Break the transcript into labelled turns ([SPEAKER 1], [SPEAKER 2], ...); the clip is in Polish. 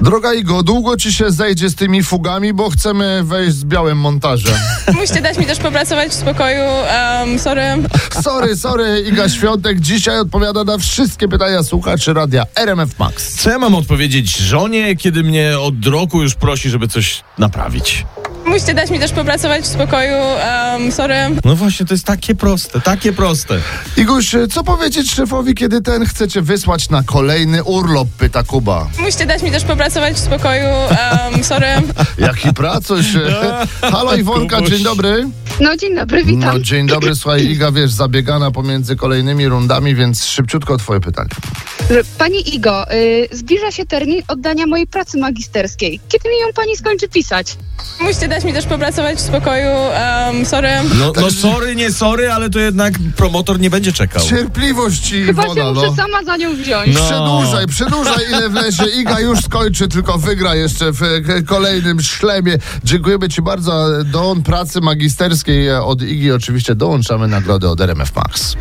[SPEAKER 1] Droga Igo, długo ci się zejdzie z tymi fugami, bo chcemy wejść z białym montażem.
[SPEAKER 2] Musicie dać mi też popracować w spokoju. Um, sorry.
[SPEAKER 1] Sorry, sorry, Iga Świątek dzisiaj odpowiada na wszystkie pytania słuchaczy radia RMF Max.
[SPEAKER 3] Co ja mam odpowiedzieć żonie, kiedy mnie od roku już prosi, żeby coś naprawić?
[SPEAKER 2] Musicie dać mi też popracować w spokoju. Um, sorry.
[SPEAKER 3] No właśnie, to jest takie proste, takie proste.
[SPEAKER 1] Iguś, co powiedzieć szefowi, kiedy ten chcecie wysłać na kolejny urlop, pyta Kuba.
[SPEAKER 2] Musicie dać mi też popracować w spokoju. Um, sorry.
[SPEAKER 1] Jaki pracuś. Halo Iwonka,
[SPEAKER 3] Kubuś.
[SPEAKER 1] dzień dobry.
[SPEAKER 4] No dzień dobry, witam.
[SPEAKER 1] No dzień dobry, słuchaj, Iga, wiesz, zabiegana pomiędzy kolejnymi rundami, więc szybciutko twoje pytanie.
[SPEAKER 4] E, Pani Igo, y, zbliża się termin oddania mojej pracy magisterskiej. Kiedy mi ją pani skończy pisać?
[SPEAKER 2] Musicie dać mi też popracować w spokoju. Um, sorry.
[SPEAKER 3] No, no sorry, nie sorry, ale to jednak promotor nie będzie czekał.
[SPEAKER 1] Cierpliwość i
[SPEAKER 4] Chyba się
[SPEAKER 1] woda,
[SPEAKER 4] muszę
[SPEAKER 1] no.
[SPEAKER 4] sama za nią wziąć.
[SPEAKER 3] No.
[SPEAKER 1] Przedłużaj, przedłużaj ile wlezie. Iga już skończy, tylko wygra jeszcze w e, kolejnym szlemie. Dziękujemy Ci bardzo. Do pracy magisterskiej e, od Igi oczywiście dołączamy nagrody od RMF Max.